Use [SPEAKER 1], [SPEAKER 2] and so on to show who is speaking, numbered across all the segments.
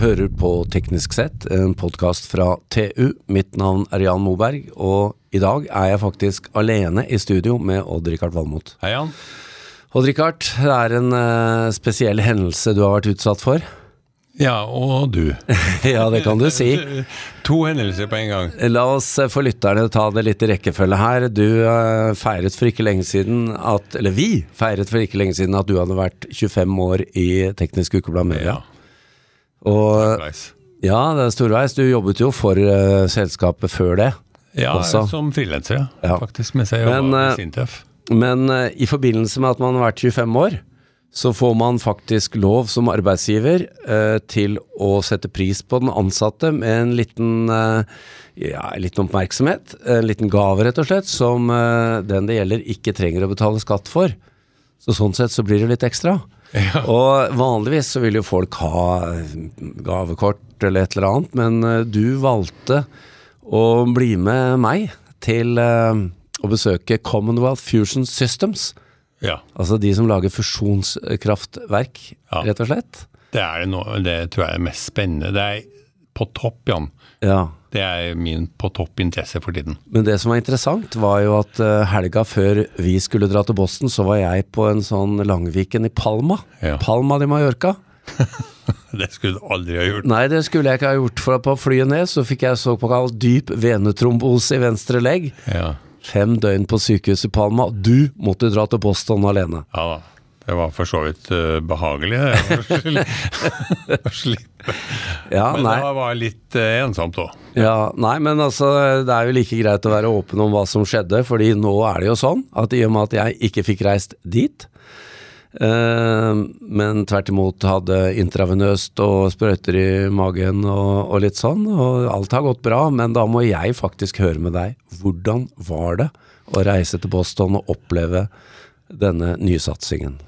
[SPEAKER 1] hører på Teknisk sett, en podkast fra TU. Mitt navn er Jan Moberg, og i dag er jeg faktisk alene i studio med Odd-Rikard Valmot.
[SPEAKER 2] Hei, Jan.
[SPEAKER 1] Odd-Rikard, det er en eh, spesiell hendelse du har vært utsatt for.
[SPEAKER 2] Ja, og du.
[SPEAKER 1] ja, det kan du si.
[SPEAKER 2] To hendelser på en gang.
[SPEAKER 1] La oss eh, for lytterne ta det litt i rekkefølge her. Du eh, feiret for ikke lenge siden at Eller vi feiret for ikke lenge siden at du hadde vært 25 år i Teknisk Ukeblad Media. Og
[SPEAKER 2] Leis.
[SPEAKER 1] ja, det er storveis. Du jobbet jo for eh, selskapet før det.
[SPEAKER 2] Ja,
[SPEAKER 1] Også.
[SPEAKER 2] som frilanser,
[SPEAKER 1] Ja.
[SPEAKER 2] ja. faktisk, mens jeg
[SPEAKER 1] Men,
[SPEAKER 2] jobba
[SPEAKER 1] eh,
[SPEAKER 2] i Sintef.
[SPEAKER 1] Men eh, i forbindelse med at man har vært 25 år, så får man faktisk lov som arbeidsgiver eh, til å sette pris på den ansatte med en liten, eh, ja, en liten oppmerksomhet, en liten gave rett og slett, som eh, den det gjelder ikke trenger å betale skatt for. Så sånn sett så blir det litt ekstra. Og vanligvis så vil jo folk ha eh, gavekort eller et eller annet, men eh, du valgte å bli med meg til eh, å besøke Commonwealth Fusion Systems.
[SPEAKER 2] Ja,
[SPEAKER 1] Altså de som lager fusjonskraftverk,
[SPEAKER 2] Ja.
[SPEAKER 1] rett og slett.
[SPEAKER 2] det er det nå. Det tror jeg er mest spennende. Det er på topp, Jan.
[SPEAKER 1] Ja.
[SPEAKER 2] Det er min på topp interesse for tiden.
[SPEAKER 1] Men det som var interessant, var jo at eh, helga før vi skulle dra til Boston, så var jeg på en sånn Langviken i Palma.
[SPEAKER 2] Ja.
[SPEAKER 1] Palma de Mallorca.
[SPEAKER 2] Det skulle du aldri ha gjort.
[SPEAKER 1] Nei, det skulle jeg ikke ha gjort, for på flyet ned så fikk jeg såkalt dyp venetrombose i venstre legg.
[SPEAKER 2] Ja,
[SPEAKER 1] Fem døgn på sykehus i Palma. Du måtte dra til Boston alene.
[SPEAKER 2] ja da. Det var for så vidt eh, behagelig, det. Å sli- å slippe.
[SPEAKER 1] Ja,
[SPEAKER 2] Men
[SPEAKER 1] nei.
[SPEAKER 2] det var litt eh, ensomt òg.
[SPEAKER 1] Ja, nei, men altså, det er jo like greit å være åpen om hva som skjedde, fordi nå er det jo sånn at i og med at jeg ikke fikk reist dit, eh, men tvert imot hadde intravenøst og sprøyter i magen og, og litt sånn, og alt har gått bra, men da må jeg faktisk høre med deg. Hvordan var det å reise til Boston og oppleve denne nysatsingen?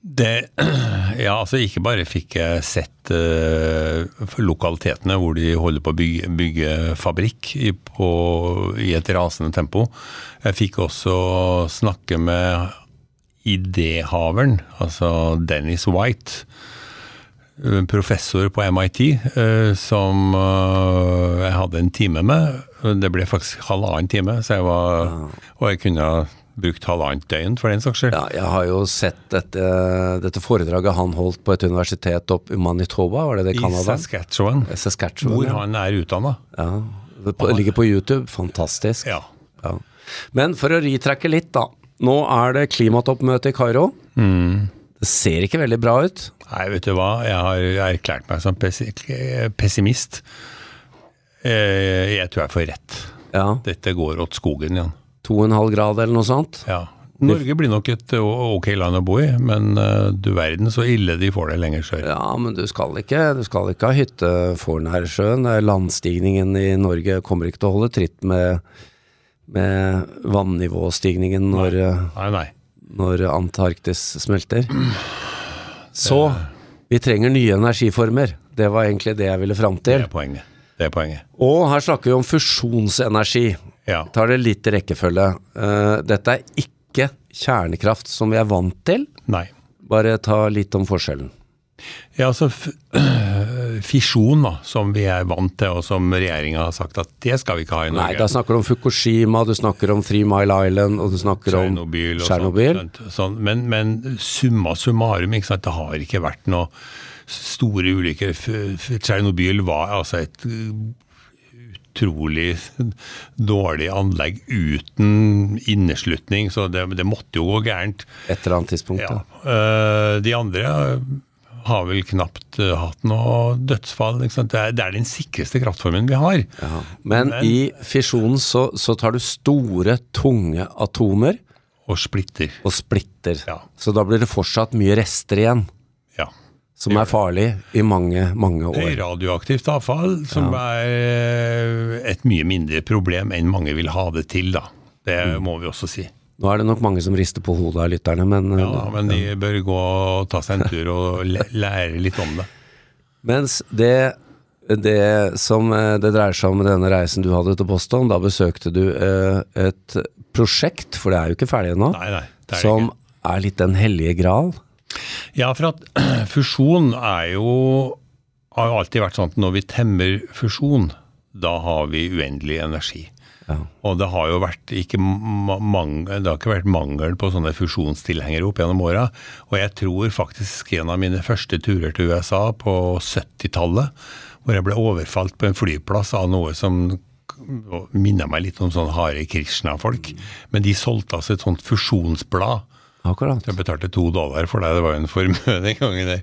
[SPEAKER 2] Det, ja, altså ikke bare fikk jeg sett eh, for lokalitetene hvor de holder på å bygge, bygge fabrikk i, på, i et rasende tempo. Jeg fikk også snakke med idéhaveren, altså Dennis White, eh, professor på MIT, eh, som eh, jeg hadde en time med. Det ble faktisk halvannen time, så jeg var, og jeg kunne ha brukt halvannet døgn for den saks skyld.
[SPEAKER 1] Ah. Ja, jeg har jo sett dette, dette foredraget han holdt på et universitet opp i Manitoba, var det det i
[SPEAKER 2] I
[SPEAKER 1] Canada?
[SPEAKER 2] Saskatchewan.
[SPEAKER 1] Saskatchewan.
[SPEAKER 2] Hvor
[SPEAKER 1] ja.
[SPEAKER 2] han er utdanna.
[SPEAKER 1] Ja, det på, ligger på YouTube. Fantastisk.
[SPEAKER 2] Ja.
[SPEAKER 1] Ja. Men for å ritrekke litt, da. Nå er det klimatoppmøte i Kairo.
[SPEAKER 2] Mm.
[SPEAKER 1] Det ser ikke veldig bra ut.
[SPEAKER 2] Nei, vet du hva, jeg har erklært meg som pessi- pessimist. Eh, Jeg tror jeg får rett.
[SPEAKER 1] Ja,
[SPEAKER 2] Dette går åt skogen igjen.
[SPEAKER 1] to og en halv grad eller noe sånt.
[SPEAKER 2] Ja. Norge blir nok et eh, o- ok land å bo i, men eh, du verden så ille de får det lenger sør.
[SPEAKER 1] Ja, men du skal ikke, du skal ikke ha hytte foran her i sjøen. Det er Landstigningen i Norge kommer ikke til å holde tritt med, med vannivåstigningen når,
[SPEAKER 2] Nei, nei.
[SPEAKER 1] når Antarktis smelter. Så vi trenger nye energiformer. Det var egentlig det jeg ville fram
[SPEAKER 2] Det
[SPEAKER 1] til.
[SPEAKER 2] er poenget. Det er poenget.
[SPEAKER 1] Og her snakker vi om fusjonsenergi.
[SPEAKER 2] Ja.
[SPEAKER 1] Tar det litt i rekkefølge. Eh, dette er ikke kjernekraft som vi er vant til.
[SPEAKER 2] Nei.
[SPEAKER 1] Bare ta litt om forskjellen.
[SPEAKER 2] Ja, altså f- fisjon, da, som vi er vant til, og som regjeringa har sagt at det skal vi ikke ha i
[SPEAKER 1] Nei,
[SPEAKER 2] Norge.
[SPEAKER 1] da snakker du om Fukushima, du snakker om Three Mile Island, og du snakker om
[SPEAKER 2] Tsjernobyl og
[SPEAKER 1] Tsjernobyl.
[SPEAKER 2] sånt. Sånn, men, men summa summarum, ikke sant? det har ikke vært noe store ulykker. F- f- Tsjernobyl var altså et uh, utrolig dårlig anlegg uten inneslutning, så det, det måtte jo gå gærent.
[SPEAKER 1] Et eller annet tidspunkt, ja.
[SPEAKER 2] Ja. Eh, De andre uh, har vel knapt eh, hatt noe dødsfall. Ikke sant? Det, er, det er den sikreste kraftformen vi har.
[SPEAKER 1] Men,
[SPEAKER 2] Men-
[SPEAKER 1] i fisjonen så, så tar du store, tunge atomer
[SPEAKER 2] Og splitter.
[SPEAKER 1] og splitter.
[SPEAKER 2] Ja.
[SPEAKER 1] Så da blir det fortsatt mye rester igjen,
[SPEAKER 2] Ja.
[SPEAKER 1] som er farlig i mange, mange
[SPEAKER 2] Det er
[SPEAKER 1] år.
[SPEAKER 2] radioaktivt avfall, som er eh, et mye mindre problem enn mange vil ha det til, da. Det må vi også si.
[SPEAKER 1] Nå er det nok mange som rister på hodet av lytterne, men eh,
[SPEAKER 2] Ja, da, men de bør gå og ta seg en tur og læ- lære litt om det.
[SPEAKER 1] Mens det, det som eh, det dreier seg om med denne reisen du hadde til Boston, da besøkte du eh, et prosjekt, for det er jo ikke ferdig ennå,
[SPEAKER 2] Nei, nei. Det er det
[SPEAKER 1] som er litt Den hellige gral.
[SPEAKER 2] ikke. Ja, for at fusjon er jo har jo alltid vært sånn at når vi temmer fusjon, da har vi uendelig energi.
[SPEAKER 1] Ja.
[SPEAKER 2] Og det har jo vært ikke, ma- mangel, det har ikke vært mangel på sånne fusjonstilhengere opp gjennom åra. Og jeg tror faktisk en av mine første turer til USA på 70-tallet, hvor jeg ble overfalt på en flyplass av noe som k- minna meg litt om sånn Hare Krishna-folk. Men de solgte altså et sånt fusjonsblad.
[SPEAKER 1] Akkurat.
[SPEAKER 2] Jeg betalte to dollar for deg, det var jo en formue den gangen der.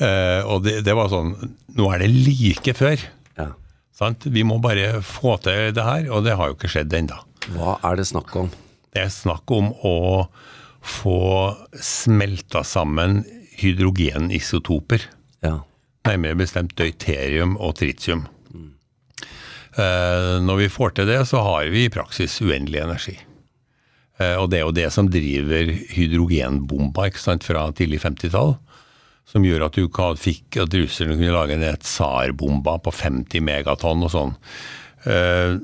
[SPEAKER 2] Eh, og det, det var sånn Nå er det like før.
[SPEAKER 1] Ja.
[SPEAKER 2] Sant? Vi må bare få til det her, og det har jo ikke skjedd ennå.
[SPEAKER 1] Hva er det snakk om?
[SPEAKER 2] Det er snakk om å få smelta sammen hydrogenisotoper.
[SPEAKER 1] Ja.
[SPEAKER 2] Nærmere bestemt deuterium og tritium. Eh, Når vi får til det, så har vi i praksis uendelig energi. Eh, Og det er jo det som driver hydrogenbomba ikke sant, fra tidlig 50-tall. Som gjør at du ka- fikk at russerne kunne lage en tsarbomba på 50 megatonn og sånn. Eh,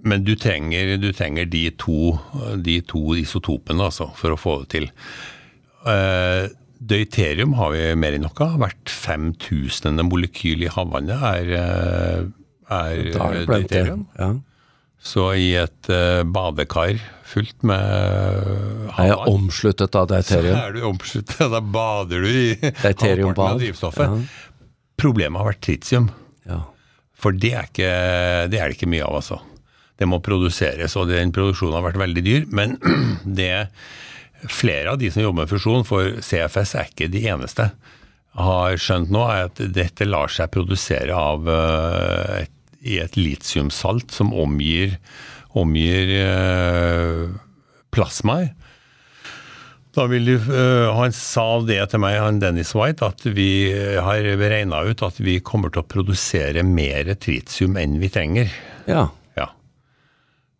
[SPEAKER 2] Men du trenger, du trenger de, to, de to isotopene altså, for å få det til. Eh, Deuterium har vi mer enn nok av. Hvert 5000. molekyl i havvannet er, eh, er,
[SPEAKER 1] Da er det
[SPEAKER 2] eh,
[SPEAKER 1] plent til.
[SPEAKER 2] deuterium.
[SPEAKER 1] Ja.
[SPEAKER 2] Så i et eh, badekar fullt med uh,
[SPEAKER 1] Er jeg omsluttet av deuterium?
[SPEAKER 2] er du omsluttet. Da bader du i
[SPEAKER 1] Deuterium
[SPEAKER 2] halvparten av
[SPEAKER 1] bad.
[SPEAKER 2] drivstoffet. Problemet har vært tritium.
[SPEAKER 1] Ja.
[SPEAKER 2] For det er, ikke, det er det ikke mye av, altså. Det må produseres, og den produksjonen har vært veldig dyr. Men det flere av de som jobber med fusjon, for CFS er ikke de eneste, har skjønt nå, er at dette lar seg produsere av eh, et, i et litiumsalt som omgir, omgir eh, plasmaer. Da vil du, øh, Han sa det til meg, han Dennis White, at vi eh, har regna ut at vi kommer til å produsere mer tritium enn vi trenger.
[SPEAKER 1] ja.
[SPEAKER 2] Ja.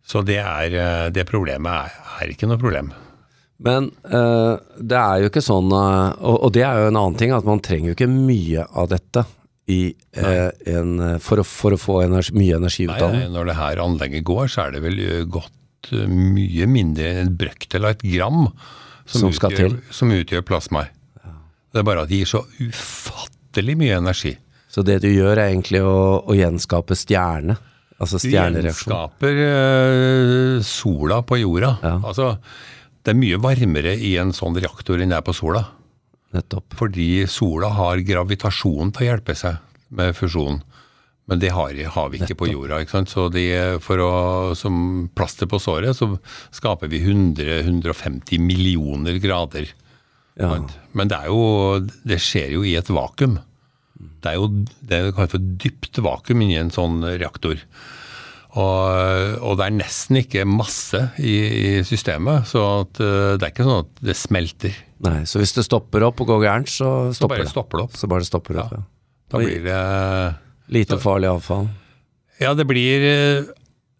[SPEAKER 2] Så det, er, øh, det problemet er, er ikke noe problem.
[SPEAKER 1] Men eh, det er jo ikke sånn eh, og, og det er jo en annen ting, at man trenger jo ikke mye av dette i, eh, en, eh, for, å, for å få energi, mye energi ut av
[SPEAKER 2] Nei,
[SPEAKER 1] den.
[SPEAKER 2] når det her anlegget går, så er det vel øh, gått øh, mye mindre enn en brøkdel av et gram
[SPEAKER 1] Som skal
[SPEAKER 2] utgjør,
[SPEAKER 1] til.
[SPEAKER 2] som utgjør plasmaer. Det er bare at det gir så ufattelig mye energi.
[SPEAKER 1] Så det du gjør, er egentlig å, å gjenskape stjerne. Altså
[SPEAKER 2] Du
[SPEAKER 1] stjernereaksjon.
[SPEAKER 2] gjenskaper eh, sola på jorda. Altså, det er mye varmere i en sånn reaktor enn det er på sola.
[SPEAKER 1] Nettopp.
[SPEAKER 2] Fordi sola har gravitasjon til å hjelpe seg med fusjonen. Men det har, har vi ikke på jorda. ikke sant? Så de, for å, som plaster på såret, så skaper vi 100-150 millioner grader.
[SPEAKER 1] Ja.
[SPEAKER 2] Sant? Men det er jo Det skjer jo i et vakuum. Det er jo det vi kaller for dypt vakuum inni en sånn reaktor. Og, og det er nesten ikke masse i, i systemet, så at, eh, det er ikke sånn at det smelter.
[SPEAKER 1] Nei, så hvis det stopper opp og går gærent, så
[SPEAKER 2] Så
[SPEAKER 1] stopper
[SPEAKER 2] bare
[SPEAKER 1] det.
[SPEAKER 2] stopper det opp.
[SPEAKER 1] Så bare det stopper opp, ja.
[SPEAKER 2] Da blir det
[SPEAKER 1] Lite farlig avfall.
[SPEAKER 2] Ja, det blir eh,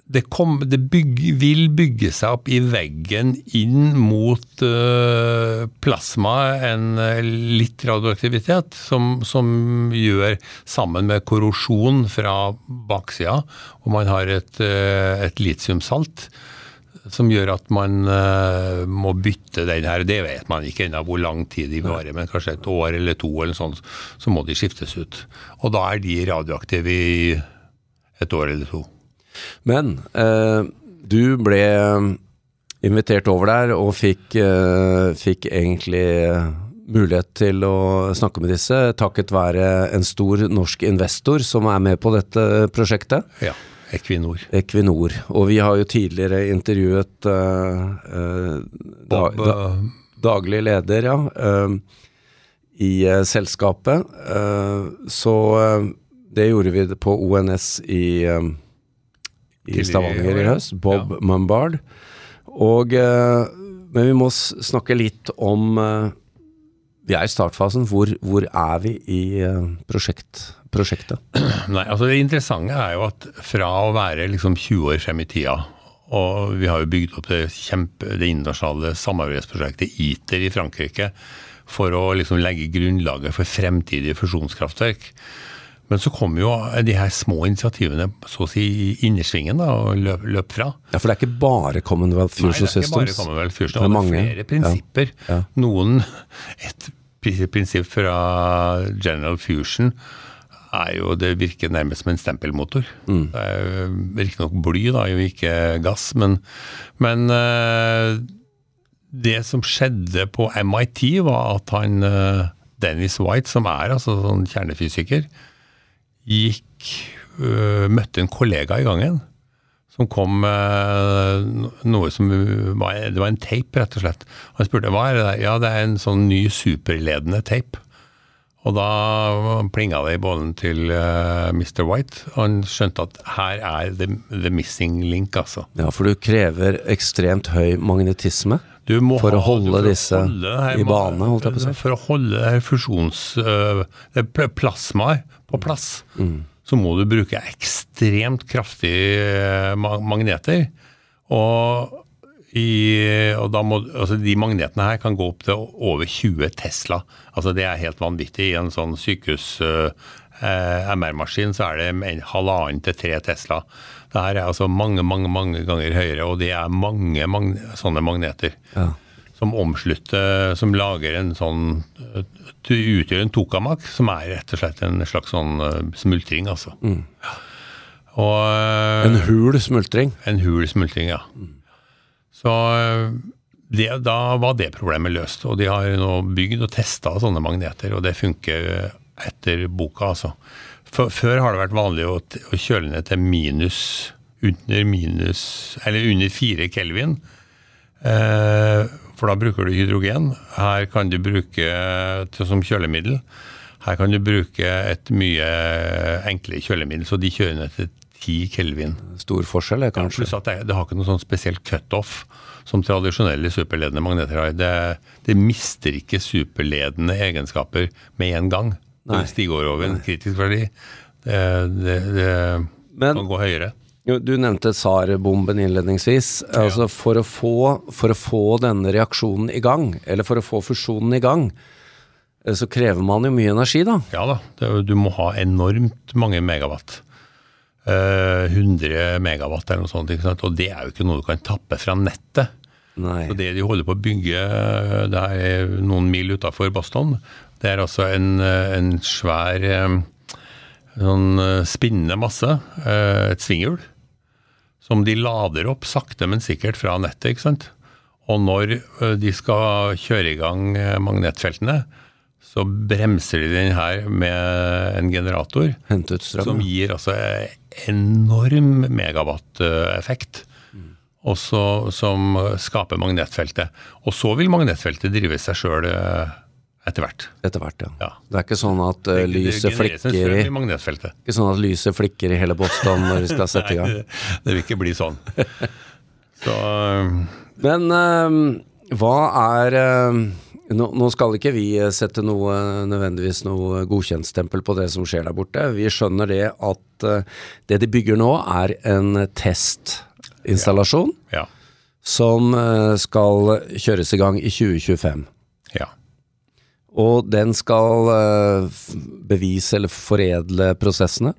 [SPEAKER 2] Det, kom, det bygg, vil bygge seg opp i veggen inn mot eh, plasma, en eh, litt radioaktivitet, som, som gjør sammen med korrosjon fra baksida, og man har et, eh, et litiumsalt. Som gjør at man eh, må bytte den her. Det vet man ikke ennå hvor lang tid de varer, men kanskje et år eller to, eller sånn, så må de skiftes ut. Og da er de radioaktive i et år eller to.
[SPEAKER 1] Men eh, du ble eh, invitert over der og fikk, eh, fikk egentlig eh, mulighet til å snakke med disse, takket være en stor norsk investor som er med på dette prosjektet,
[SPEAKER 2] Ja, Equinor.
[SPEAKER 1] Equinor. Og vi har jo tidligere intervjuet eh, eh, da-
[SPEAKER 2] Bob,
[SPEAKER 1] da-
[SPEAKER 2] eh,
[SPEAKER 1] daglig leder, ja, eh, i eh, selskapet. Eh, så eh, det gjorde vi på ONS i, eh, i
[SPEAKER 2] Tidligere i
[SPEAKER 1] Stavanger
[SPEAKER 2] år,
[SPEAKER 1] i
[SPEAKER 2] ja.
[SPEAKER 1] høst. Bob Mumbard. Og, eh, men vi må s- snakke litt om eh, Vi er i startfasen. Hvor, hvor er vi i eh, prosjekt, prosjektet?
[SPEAKER 2] Nei, altså Det interessante er jo at fra å være liksom 20 år frem i tida og Vi har jo bygd opp det, kjempe, det internasjonale samarbeidsprosjektet ITER i Frankrike for å liksom legge grunnlaget for fremtidige fusjonskraftverk. Men så kom jo de her små initiativene så å si i innersvingen da, og løp, løp fra.
[SPEAKER 1] Ja, For det er ikke bare Commonwealth Fusion
[SPEAKER 2] Nei, det er
[SPEAKER 1] Systems.
[SPEAKER 2] ikke bare Commonwealth
[SPEAKER 1] Det er
[SPEAKER 2] Fusion. Det
[SPEAKER 1] mange.
[SPEAKER 2] er flere prinsipper.
[SPEAKER 1] Ja.
[SPEAKER 2] Noen Et pri- prinsipp fra General Fusion er jo, det virker nærmest som en stempelmotor.
[SPEAKER 1] Mm.
[SPEAKER 2] Det er jo riktignok bly, da, jo ikke gass, men, men eh, det som skjedde på MIT, var at han eh, Dennis White, som er altså sånn kjernefysiker, gikk eh, Møtte en kollega i gangen som kom med noe som var, Det var en tape, rett og slett. Han spurte hva er det der? Ja, det er en sånn ny superledende tape. Og da plinga det i bollen til eh, Mr. White. og Han skjønte at her er the, the missing link, altså.
[SPEAKER 1] Ja, for du krever ekstremt høy magnetisme.
[SPEAKER 2] Du må
[SPEAKER 1] For å
[SPEAKER 2] ha-
[SPEAKER 1] holde
[SPEAKER 2] du- for å
[SPEAKER 1] disse
[SPEAKER 2] holde her
[SPEAKER 1] i
[SPEAKER 2] må-
[SPEAKER 1] bane, holdt jeg på å si.
[SPEAKER 2] For å holde det her fusjons... øh, det pl- plasmaer på plass,
[SPEAKER 1] Mm.
[SPEAKER 2] så må du bruke ekstremt kraftige øh, ma- magneter. Og, i, og da må, altså de magnetene her kan gå opp til over 20 Tesla. Altså det er helt vanvittig. I en sånn sykehus øh, eh, MR-maskin så er det en halvannen til tre Tesla. Det her er altså mange, mange mange ganger høyere, og det er mange magne, sånne magneter
[SPEAKER 1] Ja.
[SPEAKER 2] som omslutter, som lager en sånn du utgjør en tokamak, som er rett og slett en slags sånn eh, smultring, altså. Ja. Og eh,
[SPEAKER 1] En hul smultring.
[SPEAKER 2] en hul smultring, ja. Så eh, det, da var det problemet løst. Og de har nå bygd og testa sånne magneter, og det funker eh, etter boka, altså. Før, før har det vært vanlig å, t- å kjøle ned til minus under minus Eller under fire kelvin. Eh, for da bruker du hydrogen. Her kan du bruke til, som kjølemiddel. Her kan du bruke et mye eh, enklere kjølemiddel, så de kjører ned til ti kelvin.
[SPEAKER 1] Stor forskjell, er kanskje.
[SPEAKER 2] Pluss at det, det har ikke noe sånn spesiell cutoff som tradisjonelle superledende magneter har. Det, det mister ikke superledende egenskaper med en gang.
[SPEAKER 1] Nei.
[SPEAKER 2] Når det stiger over en kritisk verdi. Det, det, det
[SPEAKER 1] Men-
[SPEAKER 2] kan gå høyere.
[SPEAKER 1] Jo, Du nevnte SAR-bomben innledningsvis. Altså for, å få, for å få denne reaksjonen i gang, eller for å få fusjonen i gang, eh, så krever man jo mye energi, da.
[SPEAKER 2] Ja da, det, du må ha enormt mange megawatt. Eh, 100 megawatt eller noe sånt. Ikke sant? Og det er jo ikke noe du kan tappe fra nettet.
[SPEAKER 1] Nei.
[SPEAKER 2] Så det de holder på å bygge eh, det er noen mil utafor Boston, det er altså en, eh, en svær eh, sånn eh, spinnende masse, eh, et svinghjul, som de lader opp sakte, men sikkert fra nettet. ikke sant? Og når eh, de skal kjøre i gang eh, magnetfeltene, så bremser de den her med en generator
[SPEAKER 1] Hente ut strøm.
[SPEAKER 2] som gir altså enorm megawatt-effekt. Og så, som skaper magnetfeltet. Og så vil magnetfeltet drive seg sjøl etter hvert.
[SPEAKER 1] Etter hvert, ja.
[SPEAKER 2] Ja.
[SPEAKER 1] Det er ikke sånn at eh, lyset
[SPEAKER 2] genereres en
[SPEAKER 1] flikker i
[SPEAKER 2] strøm i magnetfeltet.
[SPEAKER 1] Ikke sånn at lyset flikker i hele Boston når de skal sette i gang.
[SPEAKER 2] Det, det vil ikke bli sånn. Så
[SPEAKER 1] Men eh, hva er eh, nå, nå skal ikke vi eh, sette noe, nødvendigvis noe godkjentstempel på det som skjer der borte. Vi skjønner det at eh, det de bygger nå er en testinstallasjon
[SPEAKER 2] ja.
[SPEAKER 1] som eh, skal kjøres i gang i 2025.
[SPEAKER 2] ja.
[SPEAKER 1] Og den skal eh, f- bevise eller foredle prosessene?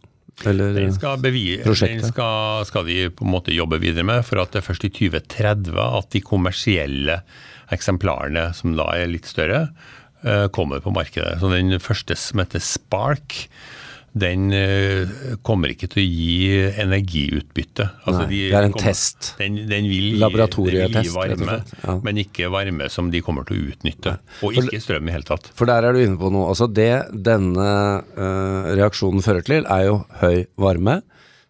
[SPEAKER 1] Eller
[SPEAKER 2] Den skal, bevi, den
[SPEAKER 1] Mm. prosjektet.
[SPEAKER 2] skal, skal de på en måte jobbe videre med, for at det er først i 2030 at de kommersielle eksemplarene, som da er litt større, eh, kommer på markedet. Så den første som heter Spark, den eh, kommer ikke til å gi energiutbytte. Altså,
[SPEAKER 1] Nei, det er en
[SPEAKER 2] kommer-
[SPEAKER 1] test.
[SPEAKER 2] Den, den vil gi, den vil
[SPEAKER 1] Laboratorietest,
[SPEAKER 2] gi
[SPEAKER 1] rett og
[SPEAKER 2] varme,
[SPEAKER 1] slett, ja.
[SPEAKER 2] men ikke varme som de kommer til å utnytte. Og ikke strøm i hele tatt.
[SPEAKER 1] For der er du inne på noe. Altså det denne eh, reaksjonen fører til, er jo høy varme.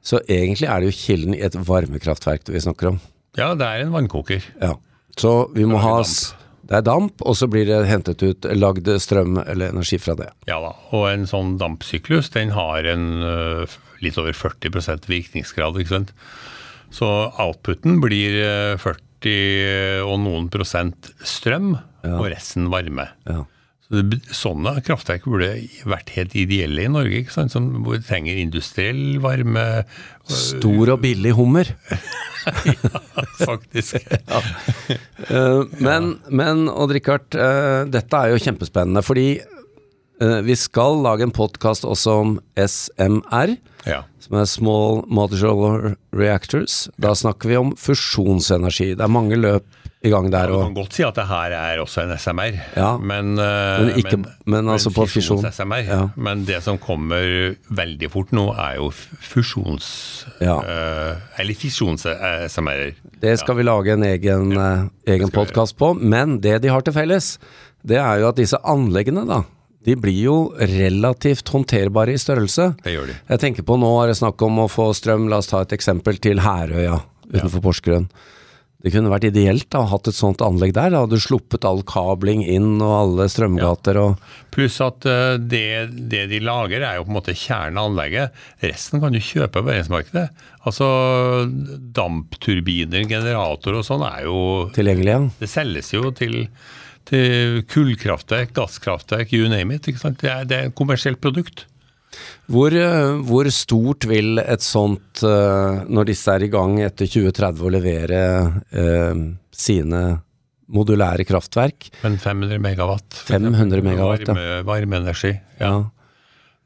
[SPEAKER 1] Så egentlig er det jo kilden i et varmekraftverk vi snakker om.
[SPEAKER 2] Ja, det er en vannkoker.
[SPEAKER 1] Ja. Så vi må ha s- Det er damp, og så blir det hentet ut lagd strøm eller energi fra det.
[SPEAKER 2] Ja da, og en sånn dampsyklus den har en ø, f- litt over 40 virkningsgrad. ikke sant? Så outputen blir ø, 40 og noen prosent strøm, og resten varme.
[SPEAKER 1] Ja.
[SPEAKER 2] Så det, be- sånne kraftverk burde vært helt ideelle i Norge, ikke sant? Som, hvor det trenger industriell varme,
[SPEAKER 1] Stor og billig hummer.
[SPEAKER 2] faktisk.
[SPEAKER 1] Eh, men, men Odd-Rikard, eh, dette er jo kjempespennende, fordi eh, vi skal lage en podkast også om SMR.
[SPEAKER 2] ja.
[SPEAKER 1] som er Small Modular Reactors. Da snakker vi om fusjonsenergi. Det er mange løp i gang der.
[SPEAKER 2] Du
[SPEAKER 1] Og,
[SPEAKER 2] kan godt si at det her er også en SMR,
[SPEAKER 1] Ja.
[SPEAKER 2] men, eh,
[SPEAKER 1] Men ikke- men altså på fisjon.
[SPEAKER 2] fisjons-SMR.
[SPEAKER 1] Ja.
[SPEAKER 2] Men det som kommer veldig fort nå, er jo f- fusjons...
[SPEAKER 1] Ja.
[SPEAKER 2] eh, eller fisjons-SMR-er.
[SPEAKER 1] Det skal vi lage en egen, eh, egen
[SPEAKER 2] skal vi
[SPEAKER 1] podkast på. Men det de har til felles, det er jo at disse anleggene, da, de blir jo relativt håndterbare i størrelse.
[SPEAKER 2] Det gjør de.
[SPEAKER 1] Jeg tenker på nå er det snakk om å få strøm, la oss ta et eksempel til Herøya utenfor Porsgrunn. Det kunne vært ideelt da, å hatt et sånt anlegg der. Da hadde du sluppet all kabling inn og alle strømgater og
[SPEAKER 2] Pluss at eh, det, det de lager er jo på en måte kjernen av anlegget. Resten kan du kjøpe på verdensmarkedet. Altså dampturbiner, generatorer og sånn er jo
[SPEAKER 1] tilgjengelig igjen.
[SPEAKER 2] Det selges jo til, til kullkraftverk, gasskraftverk, you name it. ikke sant? Det er, det er et kommersielt produkt.
[SPEAKER 1] Hvor, eh, hvor stort vil et sånt, eh, når disse er i gang etter 2030, å levere eh, sine modulære kraftverk?
[SPEAKER 2] Men 500 megawatt. for
[SPEAKER 1] 500
[SPEAKER 2] eksempel,
[SPEAKER 1] megawatt, ja.
[SPEAKER 2] varme, Varmeenergi. Ja.
[SPEAKER 1] Ja.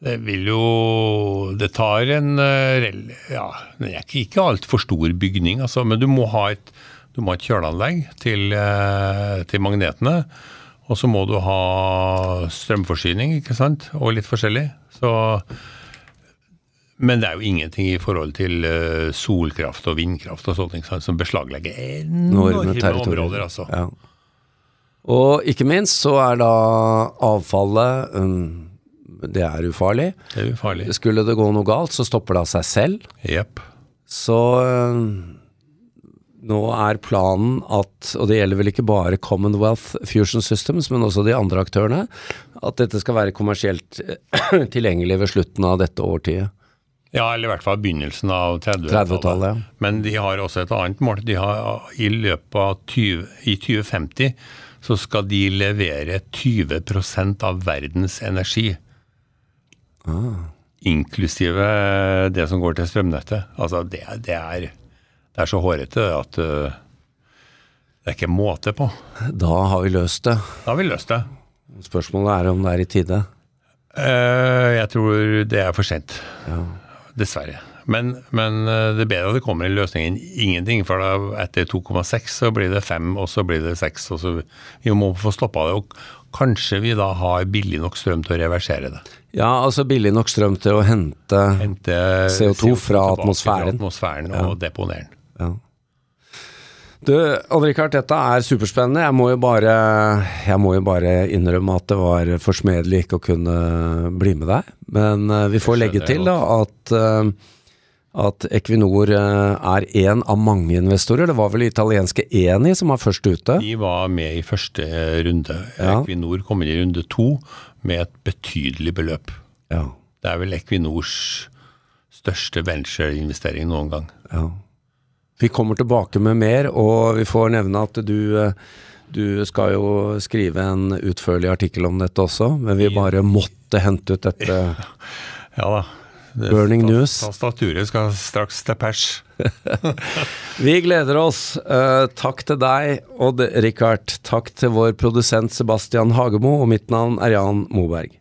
[SPEAKER 2] Det vil jo Det tar en eh, rel- Ja, det er ikke, ikke altfor stor bygning, altså, men du må ha et, du må ha et kjøleanlegg til, eh, til magnetene. Og så må du ha strømforsyning, ikke sant, og litt forskjellig. Så men det er jo ingenting i forhold til eh, solkraft og vindkraft og sånt, ikke sant, som beslaglegger
[SPEAKER 1] Enorme
[SPEAKER 2] enorme
[SPEAKER 1] territorier.
[SPEAKER 2] områder, altså.
[SPEAKER 1] Ja. Og ikke minst så er da avfallet um, Det er ufarlig.
[SPEAKER 2] Det er jo farlig.
[SPEAKER 1] Skulle det gå noe galt, så stopper det av seg selv.
[SPEAKER 2] Jepp.
[SPEAKER 1] Så um, nå er planen at, og det gjelder vel ikke bare Commonwealth Fusion Systems, men også de andre aktørene, at dette skal være kommersielt eh, tilgjengelig ved slutten av dette årtiet.
[SPEAKER 2] Ja, eller i hvert fall begynnelsen av 30-tallet.
[SPEAKER 1] 30-tallet, ja.
[SPEAKER 2] Men de har også et annet mål. De har I løpet av 20, i 2050 så skal de levere 20 av verdens energi. Inklusive det som går til strømnettet. Altså, det, er- det, er, det er så hårete at uh, det er ikke måte på.
[SPEAKER 1] Da har vi løst det.
[SPEAKER 2] Da har vi løst det.
[SPEAKER 1] Spørsmålet er om det er i tide.
[SPEAKER 2] Eh, jeg tror det er for sent. Dessverre. Men, men eh, det er bedre at det kommer en løsning enn ingenting. For da, etter 2,6 så blir det 5, og så blir det 6. Og så, vi må få stoppa det. Og kanskje vi da har billig nok strøm til å reversere det.
[SPEAKER 1] Ja, altså billig nok strøm til å hente
[SPEAKER 2] Hente
[SPEAKER 1] CO2
[SPEAKER 2] tilbake
[SPEAKER 1] fra
[SPEAKER 2] til
[SPEAKER 1] atmosfæren.
[SPEAKER 2] atmosfæren og deponere den.
[SPEAKER 1] Du, Odd-Rikard, dette er superspennende. Jeg må, jo bare, jeg må jo bare innrømme at det var forsmedelig ikke å kunne bli med deg. Men eh, vi får
[SPEAKER 2] skjønner
[SPEAKER 1] legge
[SPEAKER 2] jeg
[SPEAKER 1] til da at, eh, at Equinor eh, er én av mange investorer. Det var vel italienske Eni som var først ute.
[SPEAKER 2] De var med i første runde.
[SPEAKER 1] Ja.
[SPEAKER 2] Equinor kom inn i runde to med et betydelig beløp.
[SPEAKER 1] Ja,
[SPEAKER 2] Det er vel Equinors største ventureinvestering noen gang.
[SPEAKER 1] ja. Vi kommer tilbake med mer, og vi får nevne at du eh, du skal jo skrive en utførlig artikkel om dette også, men vi bare måtte hente ut dette.
[SPEAKER 2] Ja da. Det-
[SPEAKER 1] Burning
[SPEAKER 2] tas-
[SPEAKER 1] news.
[SPEAKER 2] Tastaturet skal straks til pers.
[SPEAKER 1] Vi gleder oss. Eh, takk til deg, Odd Rikard. Takk til vår produsent Sebastian Hagemo, og mitt navn er Jan Moberg.